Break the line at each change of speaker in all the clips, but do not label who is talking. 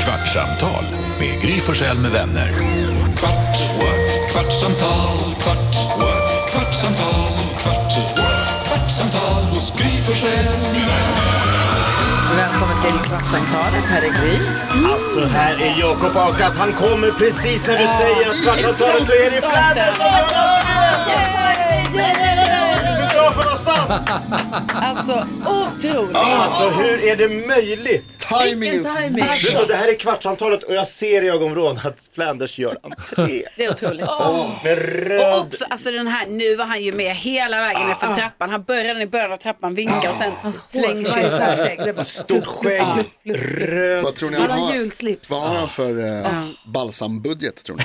Kvartsamtal med Gry Forssell med vänner.
Kvart, what? kvartsamtal, kvart, what? kvartsamtal, kvart, what? kvartsamtal hos Gry Forssell med vänner.
Välkommen till Kvartsamtalet. Här är Gry.
Alltså här är Jakob och att han kommer precis när du säger att kvartsavtalet så är det i fläder.
Alltså, otroligt.
Alltså hur är det möjligt?
Vilken timing.
Du så det här är kvartsamtalet och jag ser i ögonvrån att Flanders gör entré.
Det är otroligt.
Med
Och
röd...
också, alltså den här, nu var han ju med hela vägen nerför trappan. Han började i början av trappan, vinka och sen
Alltså,
slänger sig i steg. Det är bara
Stort skägg, röd...
Vad tror ni
Han
han
har
har?
julslips.
Vad har han för eh, balsambudget tror ni?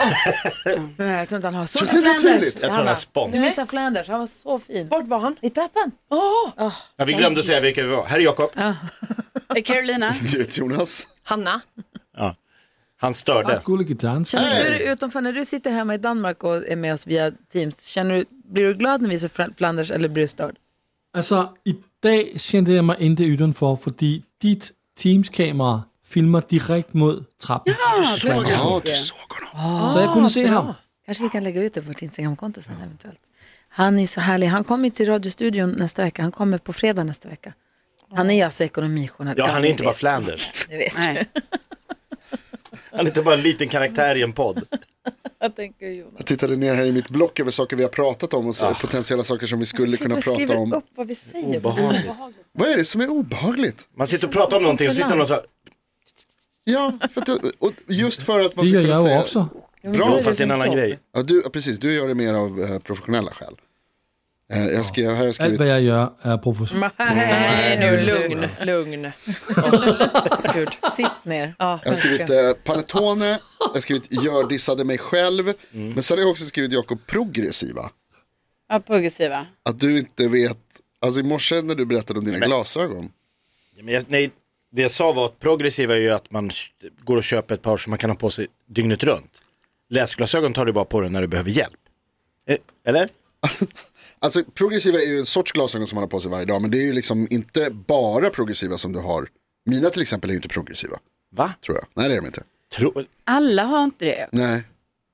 Nej, jag tror inte han har. Såg
Tycker
du
det är
Flanders?
naturligt.
Jag tror han har
Du
spons.
missade Flanders, han var så fin.
Vart var han?
I trappan.
Ja, vi glömde säga vilka vi var. Här är Jakob.
Eh, Carolina,
Det är Jonas.
Hanna.
Han störde.
Gullige dansk.
Känner du utanför, när du sitter hemma i Danmark och är med oss via Teams, känner du, blir du glad när vi ser Fl- Flanders eller blir du störd?
Altså, i dag kände jag mig inte utanför fordi ditt Teams-kamera filmer direkt mot trappen.
Ja, du såg honom.
så jag kunde se ham.
Kanske vi kan lägga ut det på vårt Instagramkonto sen eventuellt. Han är så härlig. Han kommer ju till radiostudion nästa vecka. Han kommer på fredag nästa vecka. Han är alltså ekonomijournalist.
Ja, han är
ni
inte bara
vet,
Flanders.
ni vet.
nej.
Han är inte bara en liten karaktär i en podd.
Jag tänker Jonas.
Jag tittade ner här i mitt block över saker vi har pratat om och så, potentiella saker som vi skulle kunna prata om.
upp vad vi säger.
Obehagligt.
Vad är det som är obehagligt?
Man sitter och pratar om någonting och så sitter någon och så här,
Ja, för att, du- och just för att man
Det
ska
gör
kunna
jag
säga.
också.
Bra.
fast det är en annan grej.
Ja, du, ja, precis, du gör det mer av eh, professionella skäl. Eh, jag skrev, här har jag
Allt
skrivit,
vad jag gör är professionellt.
Nej, nu lugn, lugn.
Sitt ner.
jag har skrivit eh, Panettone, jag har skrivit jag dissade mig själv,
Mm.
men sen har jag också skrivit Jakob progressiva.
Ja, progressiva.
Att du inte vet, alltså i morse när du berättade om dina glasögon.
Ja, Men jag, nej, det jag sa var att progressiva är ju att man sh- går och köper ett par som man kan ha på sig dygnet runt. Läsglasögon tar du bara på dig när du behöver hjälp. Eh, Eller?
Alltså progressiva är ju en sorts glasögon som man har på sig varje dag, men det är ju liksom inte bara progressiva som du har. Mina till exempel är ju inte progressiva,
Va?
tror jag. Nej, det är de inte.
Tro...
Alla har inte det.
Nej.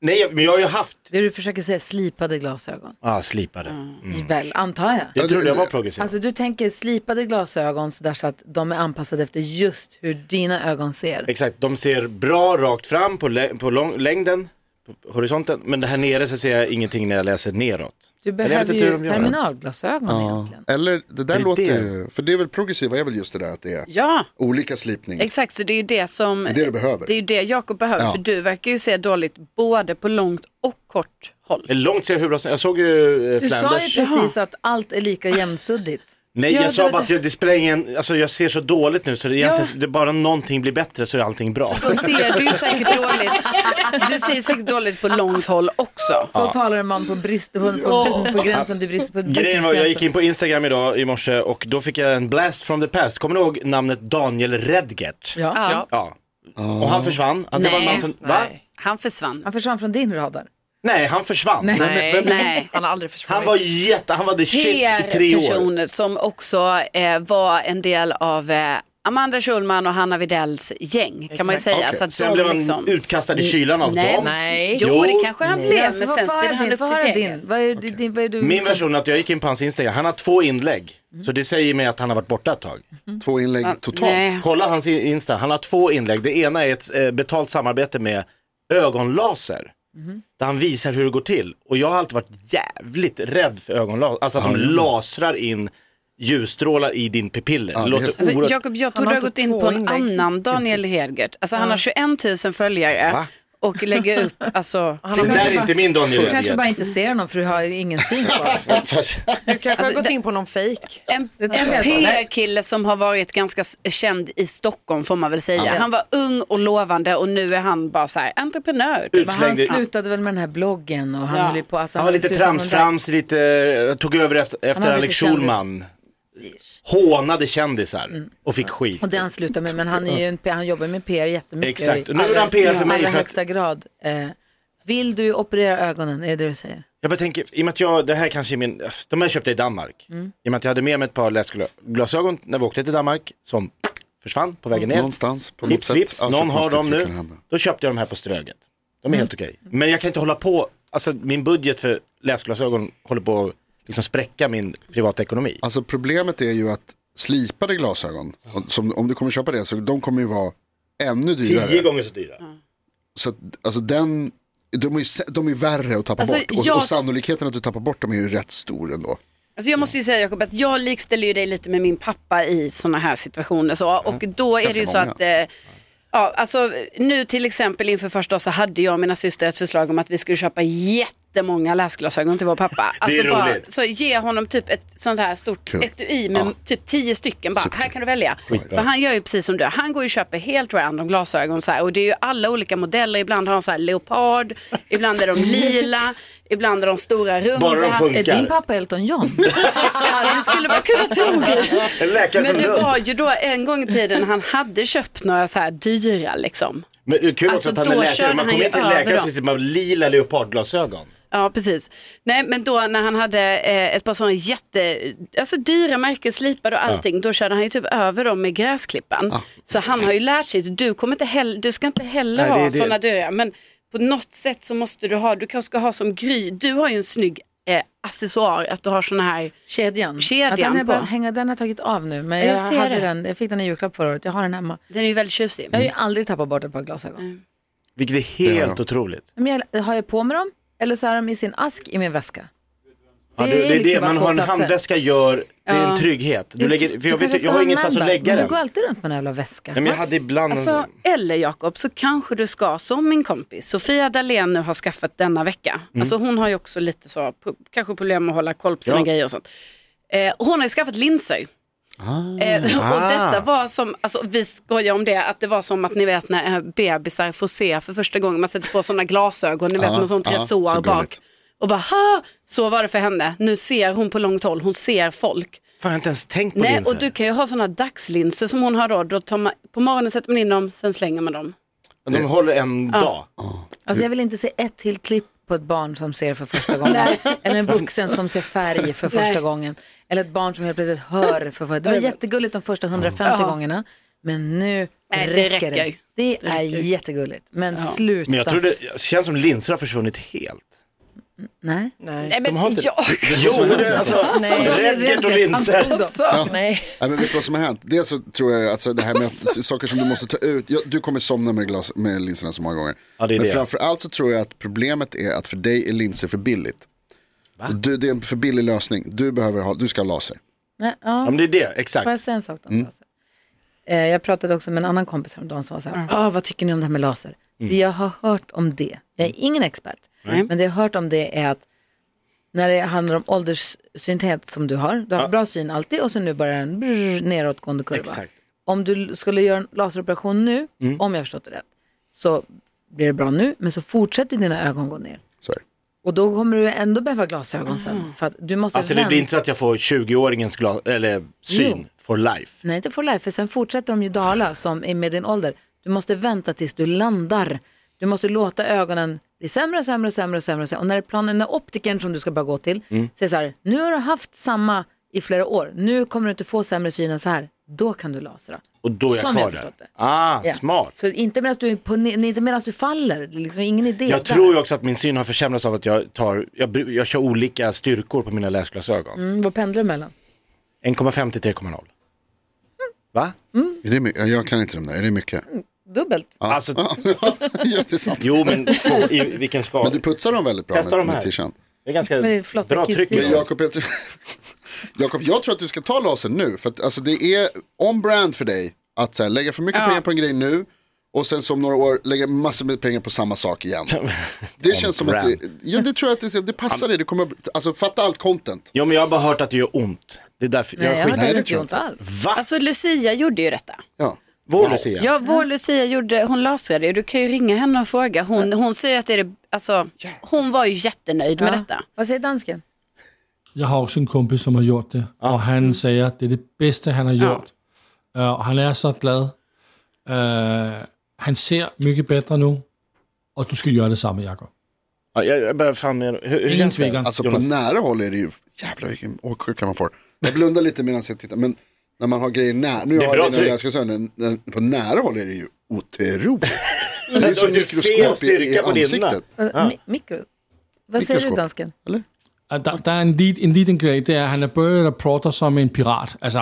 Nej, jag- men jag har ju haft
Det du försöker säga, slipade glasögon.
ah, slipade.
Väl, antar jag.
Jag
Ja,
trodde
det-
jag var
det-
progressiv.
Mm. Alltså du tänker slipade glasögon så där så att de är anpassade efter just hur dina ögon ser.
Exakt, de ser bra rakt fram på, lä- på lång- längden, på horisonten, men det här nere så ser jag ingenting när jag läser neråt.
Du
Eller jag vet
behöver
inte hur de
ju
gör det.
terminalglasögon egentligen.
Eller det där
det
låter
det?
ju, för det är väl progressiva är väl just det där att det är
Ja,
olika slipning.
exakt. Så det är ju det som...
Det är det du behöver.
Det är ju det Jakob behöver,
Ja.
för du verkar ju se dåligt både på långt och kort håll.
Eh, Långt ser jag hur bra som- jag såg ju eh,
Du sa ju
Flanders.
precis att allt är lika jämsuddigt.
Nej,
Ja,
jag
det
sa
var
bara
det.
att jag, det spelar ingen, alltså jag ser så dåligt nu så det är egentligen, det är bara någonting blir bättre så är allting bra.
Då ser du ju säkert dåligt. Du ser ju säkert dåligt på långt håll också.
Så talar en man på, brist, på, på, på gränsen till brist på
Grejen var, jag gick in
bristningsgränsen.
på Instagram idag i morse och då fick jag en blast from the past. Kommer ni ihåg namnet Daniel Redgert?
Ja.
Ja.
Ja. Och han försvann. Att det var en man som, va? Nej.
Nej.
Han försvann.
Han försvann från din radar.
han försvann.
Nej.
Nej.
Han har aldrig försvunnit.
Han var jätte, han var the shit i tre år.
PR-person som också eh, var en del av eh, Amanda Schulman och Hanna Widells gäng kan man ju säga.
Okej.
Så att
Sen
de
blev han
liksom...
utkastad i kylan av
Nej.
dem.
Nej.
Jo,
Jo.
det kanske han blev, men
Vad-
sen
vad
styrde
är
han
din?
upp
Vad är
sitt
din?
eget.
Vad är, din- din, vad är du?
Min version är att jag gick in på hans Instagram, han har två inlägg. Så det säger mig att han har varit borta ett tag.
Två inlägg totalt.
Nej.
Kolla hans i- Insta, han har två inlägg. Det ena är ett eh, betalt samarbete med ögonlaser. Där han visar hur det går till. Och jag har alltid varit jävligt rädd för ögonlaser. Alltså att de lasrar in ljusstrålar i din pupiller. det
det
låter
heter-
Alltså,
oerhört...
Jakob, jag
Han
tror du har
har
gått
inte
in
två
på en
inlägg.
annan Daniel Hedgert. Alltså han har 21 000 följare
Va?
och lägger upp, alltså,
Han
Det
har
där
kanske
är inte min Daniel
Du kanske
Redgert.
bara inte ser honom för du har ingen syn på honom.
Du kanske
Alltså,
har gått
det-
in på någon fejk.
en, en
tror jag inte.
PR-kille som har varit ganska s- känd i Stockholm får man väl säga. Han var ung och lovande och nu är han bara så här entreprenör. typ.
Men han
Utslängd i-
slutade väl med den här bloggen och han
Ja.
höll ju på. Alltså,
Han var lite
slutade med den där-
tramsframs, lite, eh, tog över efter, efter
hade
Alex
lite kändis- Mm.
Schulman. Hånade kändisar och fick skit.
Och det han slutar med, men han, är ju en, han jobbar med PR jättemycket.
Exakt.
i
Och nu är han PR för
allra
mig, så att-
högsta grad. Eh, vill du operera ögonen, är det det du säger?
Jag bara tänker, i och med att jag, det här kanske är min,
Mm.
de här köpte jag i Danmark. I och med att jag hade med mig ett par läsglasögon när vi åkte till Danmark som försvann på vägen ner.
Någonstans på något
Vips,
sätt.
vips,
Ja, så
någon har
konstigt
dem
det
nu.
kan hända.
Då köpte jag de här på Ströget. De är
Mm.
helt okej. Men jag kan inte hålla på, alltså min budget för läsglasögon håller på att liksom spräcka min privatekonomi.
Alltså problemet är ju att slipade glasögon, och som, om du kommer köpa det, så de kommer ju vara ännu dyrare.
Tio gånger så dyra.
Så att, alltså den, de är ju sä- de är värre att tappa
Alltså,
bort. Och,
jag-
och sannolikheten att du tappar bort dem är ju rätt stor ändå.
Alltså jag måste ju säga Jakob att jag likställer ju dig lite med min pappa i sådana här situationer. Så,
Mm.
och då är det ju så
Ganska många.
att eh, Ja, alltså, nu till exempel inför första dagen så hade jag och mina systrar ett förslag om att vi skulle köpa jättemånga läsglasögon till vår pappa. Alltså bara,
roligt.
så ge honom typ ett sånt här stort
Kul.
etui med typ tio stycken bara, här kan du välja.
Skitbra.
För han gör ju precis som du, han går ju och köper helt random glasögon så här, och det är ju alla olika modeller, ibland har han så här leopard, ibland är de lila, ibland är de stora runda.
Bara de funkar.
Är Eh, din pappa Elton John?
Ja, det skulle man kunna tro.
En läkare
Men
från
det
Lund.
var ju då en gång i tiden han hade köpt några så här dyra liksom.
Men det är kul
Alltså,
också att han
då
är
körde
läkare. Man
han
kommer
ju
inte till
över
läkare
dem.
så sitter man med lila leopardglasögon.
Ja, precis. Nej, men då när han hade eh, ett par sådana jätte, alltså dyra märken, slipade och allting, då körde han ju typ över dem med gräsklippan. Så han har ju lärt sig, så du, kommer inte heller, du ska inte heller
Nej, det är
ha
det.
sådana dyra, men på något sätt så måste du ha, du kanske ska ha som Gry, du har ju en snygg eh, accessoar, att du har sådana här,
Kedjan.
Kedjan
att den, är bara,
på.
hänga, den har jag tagit av nu, men
jag
jag,
ser
hade
det.
den, jag fick den i julklapp förra året. Jag har den hemma.
den är ju väldigt tjusig.
Mm.
Jag har ju aldrig tappat bort ett par glasögon.
Mm.
Vilket är helt
Ja.
otroligt.
Men jag, har jag på mig dem eller så har jag dem i sin ask i min väska.
Ja, det,
är
det, är
liksom
det
bara
man
två
har en
platser.
handväska gör, det är en trygghet. Du lägger, för jag,
kanske
vet,
ska
jag
ha
har
en
ingenstans att
manbag,
lägga
men
den.
Du går alltid runt med en jävla väska.
Nej, men jag hade ibland en
Alltså, eller Jakob, så kanske du ska, som min kompis Sofia Dalén nu har skaffat denna vecka.
Mm.
Alltså hon har ju också lite så, p- kanske problem med att hålla koll på sina
Ja.
grejer och sånt. Eh, hon har ju skaffat linser.
Ah.
Eh, och detta var som, alltså, vi skojar om det, att det var som att ni vet när eh, bebisar får se för första gången, man sätter på sådana glasögon, ni vet
Ja,
med sånt
ja,
resår
Ah, så
bak.
gulligt.
Och bara, ha! så var det för henne. Nu ser hon på långt håll, hon ser folk.
Fan, jag har inte ens tänkt på
Nej,
linser.
och du kan ju ha sådana dagslinser som hon har då, då tar man, på morgonen sätter man in dem, sen slänger man dem.
Men De håller en dag.
Alltså jag vill inte se ett till klipp på ett barn som ser för första gången. eller en vuxen som ser färg för första
Nej.
gången. Eller ett barn som helt plötsligt hör för första Det var jättegulligt de första 150 gångerna. Men nu
Nej, det
räcker det.
räcker.
Det, är jättegulligt. Men sluta.
Men jag tror det det känns som linser har försvunnit helt.
Nej.
Nej.
men
har inte-
jag...
Jo, det, alltså,
Nej.
Räcket och linser.
Nej.
Nej, men vet du vad som har hänt? Dels så tror jag att så det här med att, saker som du måste ta ut, ja, du kommer somna med, glas, med linserna så många gånger.
Ja, det är
men
det.
framförallt så tror jag att problemet är att för dig är linser för billigt. Så du, det är en för billig lösning, du, behöver ha, du ska ha laser.
Nej,
Ja,
ja.
men det är det,
Får jag
exakt.
säga en sak om
Mm.
laser? Eh, jag pratade också med en annan kompis häromdagen som var så här, ah, vad tycker ni om det här med laser?
Mm.
Det jag har hört om det, jag är ingen expert, men det jag har hört om det är att när det handlar om ålderssynthet som du har, du har haft bra syn alltid och så nu börjar den brrr, nedåtgående kurva.
Exakt. Mm.
Om du l- skulle göra en laseroperation nu, om jag har förstått det rätt, så blir det bra nu, men så fortsätter dina ögon gå ner.
Så är det.
Och då kommer du ändå behöva glasögon sen. För att du måste
Alltså det blir
vänta-
inte så att jag får 20-åringens glas, eller syn for life.
Nej, inte for life, för sen fortsätter de ju dala som är med din ålder. Du måste vänta tills du landar. Du måste låta ögonen bli sämre och sämre och sämre och sämre. Och, sämre. och när planen, när optiken som du ska bara gå till,
Mm.
säger så här, nu har du haft samma i flera år, nu kommer du inte få sämre syn än så här, då kan du lasra.
Och då är jag
Som
kvar
jag
där.
förstått det.
Ah,
Ja.
smart.
Så inte medan du, är på, ne- inte medans du faller, det är liksom ingen idé.
Jag tror ju också att min syn har försämrats av att jag, tar, jag, bru- jag kör olika styrkor på mina läsglasögon.
mm, vad pendlar du mellan?
1,5 till 3,0. Va?
Är det mycket? Jag kan inte de där, är det mycket?
Dubbelt.
Alltså,
ja, det är sant.
jo men på, i vilken skala?
Men du putsar dem väldigt bra
Testa
med,
de här.
med t-shirten.
Det är ganska
Men det är flotta
bra tryck.
kistor.
Men
liksom.
Jakob, jag, tror- Jakob, jag tror att du ska ta laser nu. För att, alltså, det är on brand för dig att så här, lägga för mycket pengar på en grej nu och sen som några år lägga massor med pengar på samma sak igen. Det känns som att det,
brand.
ja, det tror jag att det, det passar dig. Du kommer, alltså, fatta allt content.
Jo men jag har bara hört att det gör ont. Det är därför
Nej, jag
jag
har
skit.
Nej, det
inte
tror jag
gjort ont alls.
Va?
Alltså Lucia gjorde ju detta.
Ja.
Vår Lucia?
Ja, vår Lucia gjorde, hon lasrade ju. Du kan ju ringa henne och fråga. Hon, hon säger att det är det, alltså, hon var ju jättenöjd med detta.
Vad säger dansken?
Jeg har også en kompis, som har gjort det, og han siger, at det er det bedste, han har gjort. Øh, og han er så glad. Øh, han ser mycket bedre nu, og du skal gøre det samme, Jacob.
Ja, jag, jag börjar fan med... Hur, hur
Ingen
känns det?
tvekan.
Alltså på nära håll är det ju, jävlar vilken åksjuka man får. Jag blundar lite medan jag tittar, men När man har grejer nära. Nu
Det är
har
bra
jag den
tryck.
ganska sönder. men På nära håll är det ju otroligt. Det
Men
är
då
som
är det fel
mikroskop i, i
styrka på dina.
ansiktet.
Mi- mikro. Vad säger du
Mikroskop.
dansken?
Eller?
At der, der er en, lead, en leading grade, det er, at han er både der plotter som en pirat. Altså,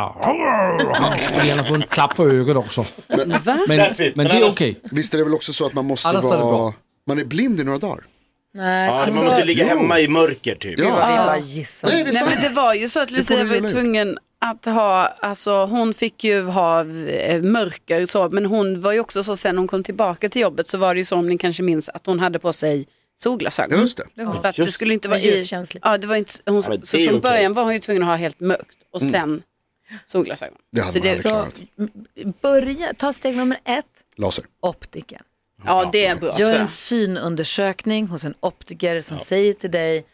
fordi han har fået en klap for økket også.
Va?
Men,
That's it.
men det er okay.
Visst är det väl också så att man måste
Alla ställer
vara...
bra.
Man är blind i några dagar.
Nej,
Ja,
alltså,
man måste ligga hemma i mörker typ.
vi
Ja.
bara gissar.
Nej, det
Nej
är sant.
men det var ju så att Lucia
vi
var ju
rulla ut.
tvungen att ha, alltså hon fick ju ha eh, mörker så, men hon var ju också så sen hon kom tillbaka till jobbet så var det ju så om ni kanske minns att hon hade på sig solglasögon.
Just det.
För att det skulle inte vara
Men
i,
ljuskänslig.
ja det Mm. var inte, hon,
Ja, men det
så
är
från
okej.
början var hon ju tvungen att ha helt mörkt och sen solglasögon.
Det hade
så
man aldrig
Så
klarat.
m- börja, ta steg nummer ett,
Laser.
optiken.
Ja det är bra tror
Gör
jag.
en synundersökning hos en optiker som säger till dig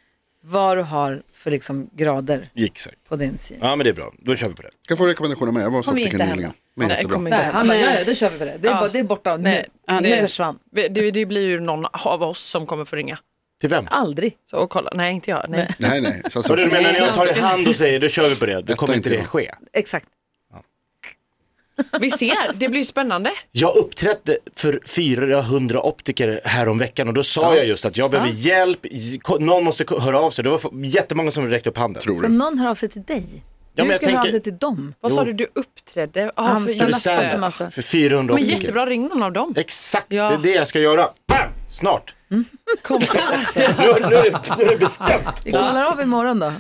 vad du har för liksom grader
Exakt.
på din syn.
Ja men det är bra, då kör vi på det.
Kan jag få rekommendationer med? Jag var hos
Kom inte
optikern
hem.
nyligen. Men
Nej,
jättebra.
kom inte
Nej,
hem.
han bara,
Nej.
nej, då kör vi på det. Det är,
Ja.
bara, det är borta nu.
Nej. Ja,
nu
det-
försvann.
Det, det blir ju någon av oss som kommer få ringa.
Till vem?
Aldrig.
Så och kolla. Nej, inte jag. Nej.
Nej, nej. Så,
Vad
alltså,
du menar när jag tar i hand och säger då kör vi på det, då
Detta
kommer
är
inte
inte
det
jag.
ske.
Exakt.
Vi ser, det blir spännande.
Jag uppträdde för 400 optiker häromveckan och då sa jag just att jag behöver hjälp, j- ko- någon måste ko- höra av sig. Det var f- jättemånga som räckte upp handen.
tror
Så
du.
någon hör av sig till dig.
men
du
jag
ska höra av
tänker-
dig till dem.
Vad sa du, du uppträdde? Ah,
Han
för
ställer
jävla
sig för
spö.
massa- Alltså.
För 400
Men
optiker.
jättebra, ring någon av dem.
Exakt,
Ja.
det är det jag ska göra. Bam! Snart.
Mm.
Kompisar.
Nu, nu, är det- nu är det bestämt.
Vi kollar av imorgon då.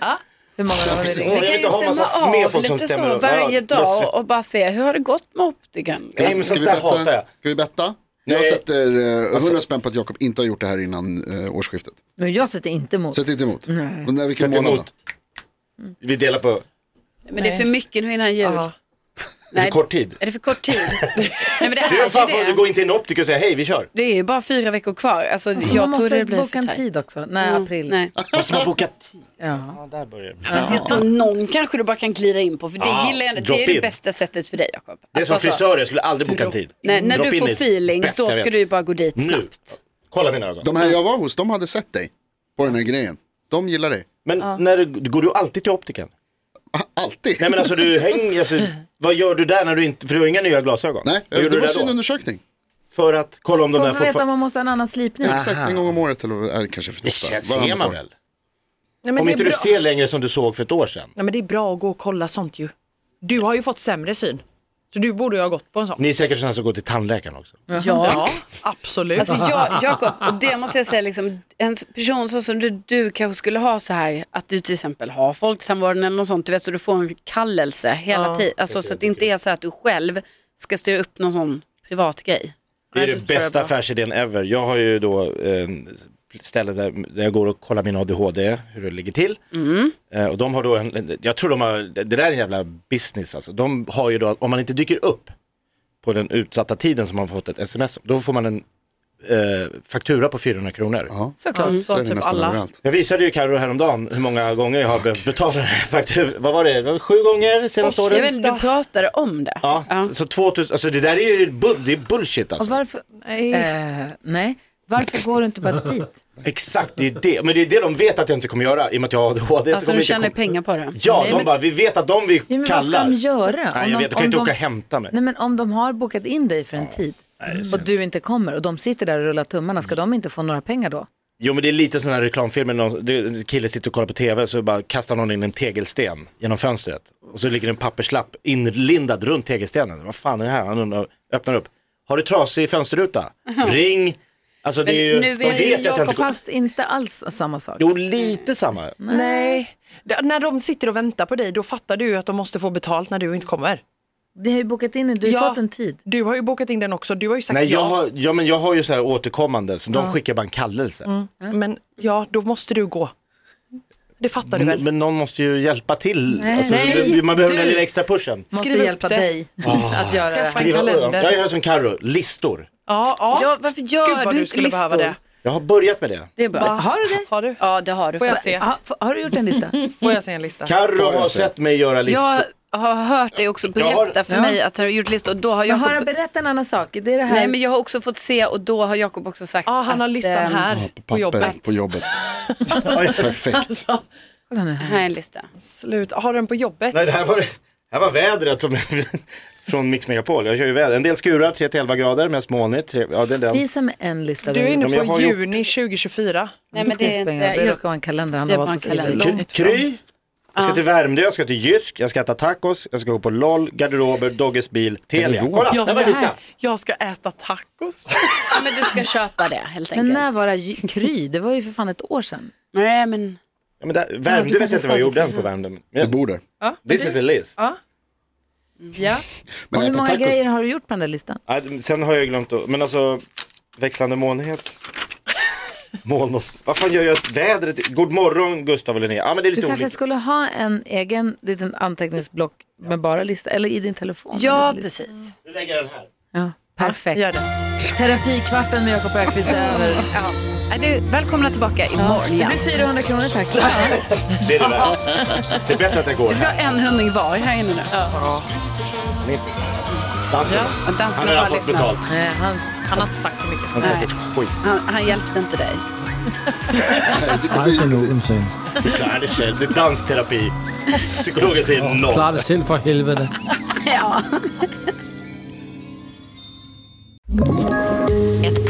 Hur många har
precis.
ringt?
Jag
Vi
vill
kan
inte
ju
ha massa
stämma
mer
av
folk som
lite
stämmer
så
av.
varje
Ja,
dag
lös-
och, och bara se hur har det gått med optikern?
Nej, men
Ska
sånt
vi
där hatar
betta?
jag.
Ska vi betta? Jag
Nej. Alltså-
sätter eh, 100 spänn på att Jakob inte har gjort det här innan eh, årsskiftet.
Men jag sätter inte emot.
Sätt inte emot. Men när vilken
Sätt
månad då?
emot. Vi delar på
Men det är för mycket nu innan jul.
Ja.
för
Nej,
kort tid.
är det för kort tid? Nej men det
Du, är
här
fan,
är
du
ju det.
går inte in i en optiker och säger hej vi kör.
Det är ju bara fyra veckor kvar. Alltså,
Jag man
jag tror
måste
det blir
boka
för
en
tajt.
tid också. Nej, april.
Nej.
Måste man boka tid?
Ja.
Där börjar det.
Alltså, jag tror någon kanske du bara kan glida in på för det
Ja,
gillar jag.
drop
Det är det
in.
bästa sättet för dig Jakob. Alltså,
Det är
Att
som
bara så-
frisörer, jag skulle aldrig boka en tid.
Nej, när
Drop
du
in
får
är
feeling
bäst
då
jag
ska
vet.
du ju bara gå dit
Nu.
snabbt.
Kolla mina ögon.
De här jag var hos, de hade sett dig på den här grejen. De gillar dig.
Men när du, går du alltid till optiken?
Ah, Alltid.
Nej men alltså du hänger, alltså, vad gör du där när du inte, för du har inga nya glasögon?
Nej,
vad
eh,
gör
det
du
var
där då?
synundersökning.
För att kolla om de
Får man
där
veta om
fortfarande...
man måste ha en annan slipning?
Exakt, en gång om året eller eller kanske för
Det
ofta.
känns-
Varannat
ser man
år.
väl?
Nej, men
Om
det är
inte du
bra.
ser längre som du såg för ett år sedan.
Nej, men det är bra att gå och kolla sånt ju. Du har ju fått sämre syn. Så du borde ju ha gått på en sån.
Ni är säkert sådana som går till tandläkaren också.
Ja, absolut.
Alltså jag, Jakob, och det måste jag säga, liksom, en person så som du, du kanske skulle ha så här, att du till exempel har folktandvården eller något sånt, du vet, så du får en kallelse hela tiden. Alltså, så att det inte är så här att du själv ska styra upp någon sån privat grej.
Det är
Nej,
den
det tror jag
bästa
är bra.
affärsidén ever. Jag har ju då eh, stället där där jag går och kollar min ADHD, hur det ligger till.
Mm.
Eh, och de har då en, jag tror de har, det där är en jävla business alltså. De har ju då, om man inte dyker upp på den utsatta tiden som man fått ett sms, då får man en eh, faktura på 400 kronor.
Ja,
Såklart,
så
så
är det
typ
nästan
alla.
överallt.
Jag visade ju Carro häromdagen hur många gånger jag har behövt betala den här fakturan. Vad var det? Det var Sju gånger senaste
Jag
året?
vet inte, du pratade om det.
Ja, så 2000, alltså det där är ju bu- det är bullshit
Och
alltså.
varför? Eh, nej. Varför går du inte bara dit?
Exakt, det är det. Men det är det de vet att jag inte kommer göra i och med att jag har ADHD.
Alltså
kommer
du
jag
tjänar
inte kom-
pengar på det.
Ja,
Nej,
de
men-
bara, vi vet att de vi
Ja, men vad ska
kallar.
de göra?
Nej, jag vet, du kan
om
inte
de-
åka och hämta mig.
Nej, men om de har bokat in dig för en tid och du inte kommer och de sitter där och rullar tummarna, ska
Mm.
de inte få några pengar då?
Jo men det är lite sådana här reklamfilmer, när någon, det är en kille sitter och kollar på tv så bara kastar någon in en tegelsten genom fönstret. Och så ligger en papperslapp inlindad runt tegelstenen. Vad fan är det här? Han undrar, öppnar upp. Har du trasig fönsterruta? Ring! Alltså det är ju,
nu är
de
det
vet ju att jag inte
Jakob,
kommer.
fast inte alls samma sak.
Jo lite samma.
Nej, D- när de sitter och väntar på dig då fattar du ju att de måste få betalt när du inte kommer.
Det har ju bokat in, du har ju
Ja.
fått en tid.
Du har ju bokat in den också, du har ju sagt
Nej jag
ja.
har, ja, men jag har ju så här återkommande, så de skickar bara en kallelse.
Mm.
Men ja, då måste du gå. Det fattar du väl?
Men någon måste ju hjälpa till.
Nej.
alltså,
Nej,
man behöver den
du-
lilla extra pushen.
Måste
Skriv upp
hjälpa
det.
dig att göra det.
Skaffa en
Skriva-
kalender.
Jag gör som Carro, listor.
Ja, ja.
Ja, varför gör
Gud vad
du
du
inte
skulle behöva
listor?
det.
Jag har börjat med det.
Det är bra.
Har du det? Har du?
Ja, det har du
Får jag
faktiskt.
se?
Ha, f- har du gjort en lista?
Får jag se en lista?
Carro har
jag säga?
sett mig göra listor.
Jag har hört dig också
Jag har-
berätta för mig att han har gjort listor och då har
Jag
Jakob...
har berätta en annan sak. Det är det här.
Nej, men jag har också fått se och då har Jakob också sagt
Ja, han har
att,
listan
ehm,
här
På
på
papper
jobbet.
på jobbet. Perfekt.
Kolla nu.
Här är en lista. Mm.
Slut. Har du den på jobbet?
Nej, det här var Här var vädret som, från Mix Megapol. Jag kör ju väder. En del skurar, 3-11 grader, mest molnigt. Tre- Ja, det är den.
Visa mig en lista.
Du är
Ja, men
inne
jag har
på
gjort-
juni 2024.
Nej, men det är inte...
Det
Jag,
råkar vara en kalender han
Det är
har
bara
valt
en
att skriva
kalender.
ut.
Kry, Kry. jag ska till Värmdö, jag ska till Jysk, jag ska äta tacos, jag ska gå på LOL, garderober, Dogges bil, Telia. Kolla,
Jag
där var
ska,
listan.
jag ska äta tacos.
ja, men du ska köpa det helt
Men
enkelt.
när var det ju- Kry? Det var ju för fan ett år sedan.
Nej, men...
Ja, men där, Värmdö vet jag inte vad jag gjorde än på Värmdö. Men,
Du
yeah,
bor där.
this is a list.
Ja.
Men
Och hur
äta
många
tacos,
grejer har du gjort på den där listan?
Ja, Sen har jag glömt att, men alltså växlande molnighet. Moln och, vad fan gör jag åt vädret? God morgon Gustav och Linnea. Ja men det är
Du
lite
kanske
olika.
skulle ha en egen liten anteckningsblock med bara lista, eller i din telefon.
Ja,
En liten lista.
precis.
Du lägger den här.
Ja, perfekt.
Gör det.
Terapikvarten med Jakob Ökvist är över.
Ja. Nej, Du, välkomna tillbaka imorgon
Det
igen.
blir 400 kronor tack.
Det är det där. Det är bättre att jag går
Vi ska
här.
ha en hundring var här inne nu.
Dansken.
Och danskarna
Han har redan
har
fått
lyssnat.
betalt.
Nej, han,
Han har inte sagt så mycket.
Han är säkert skit.
Han, han hjälpte inte dig.
Aldrig nogensinde.
Du klarar det själv. Det är dansterapi. Psykologen säger
Klar
noll.
det selv for helvede.
Ja.
Ett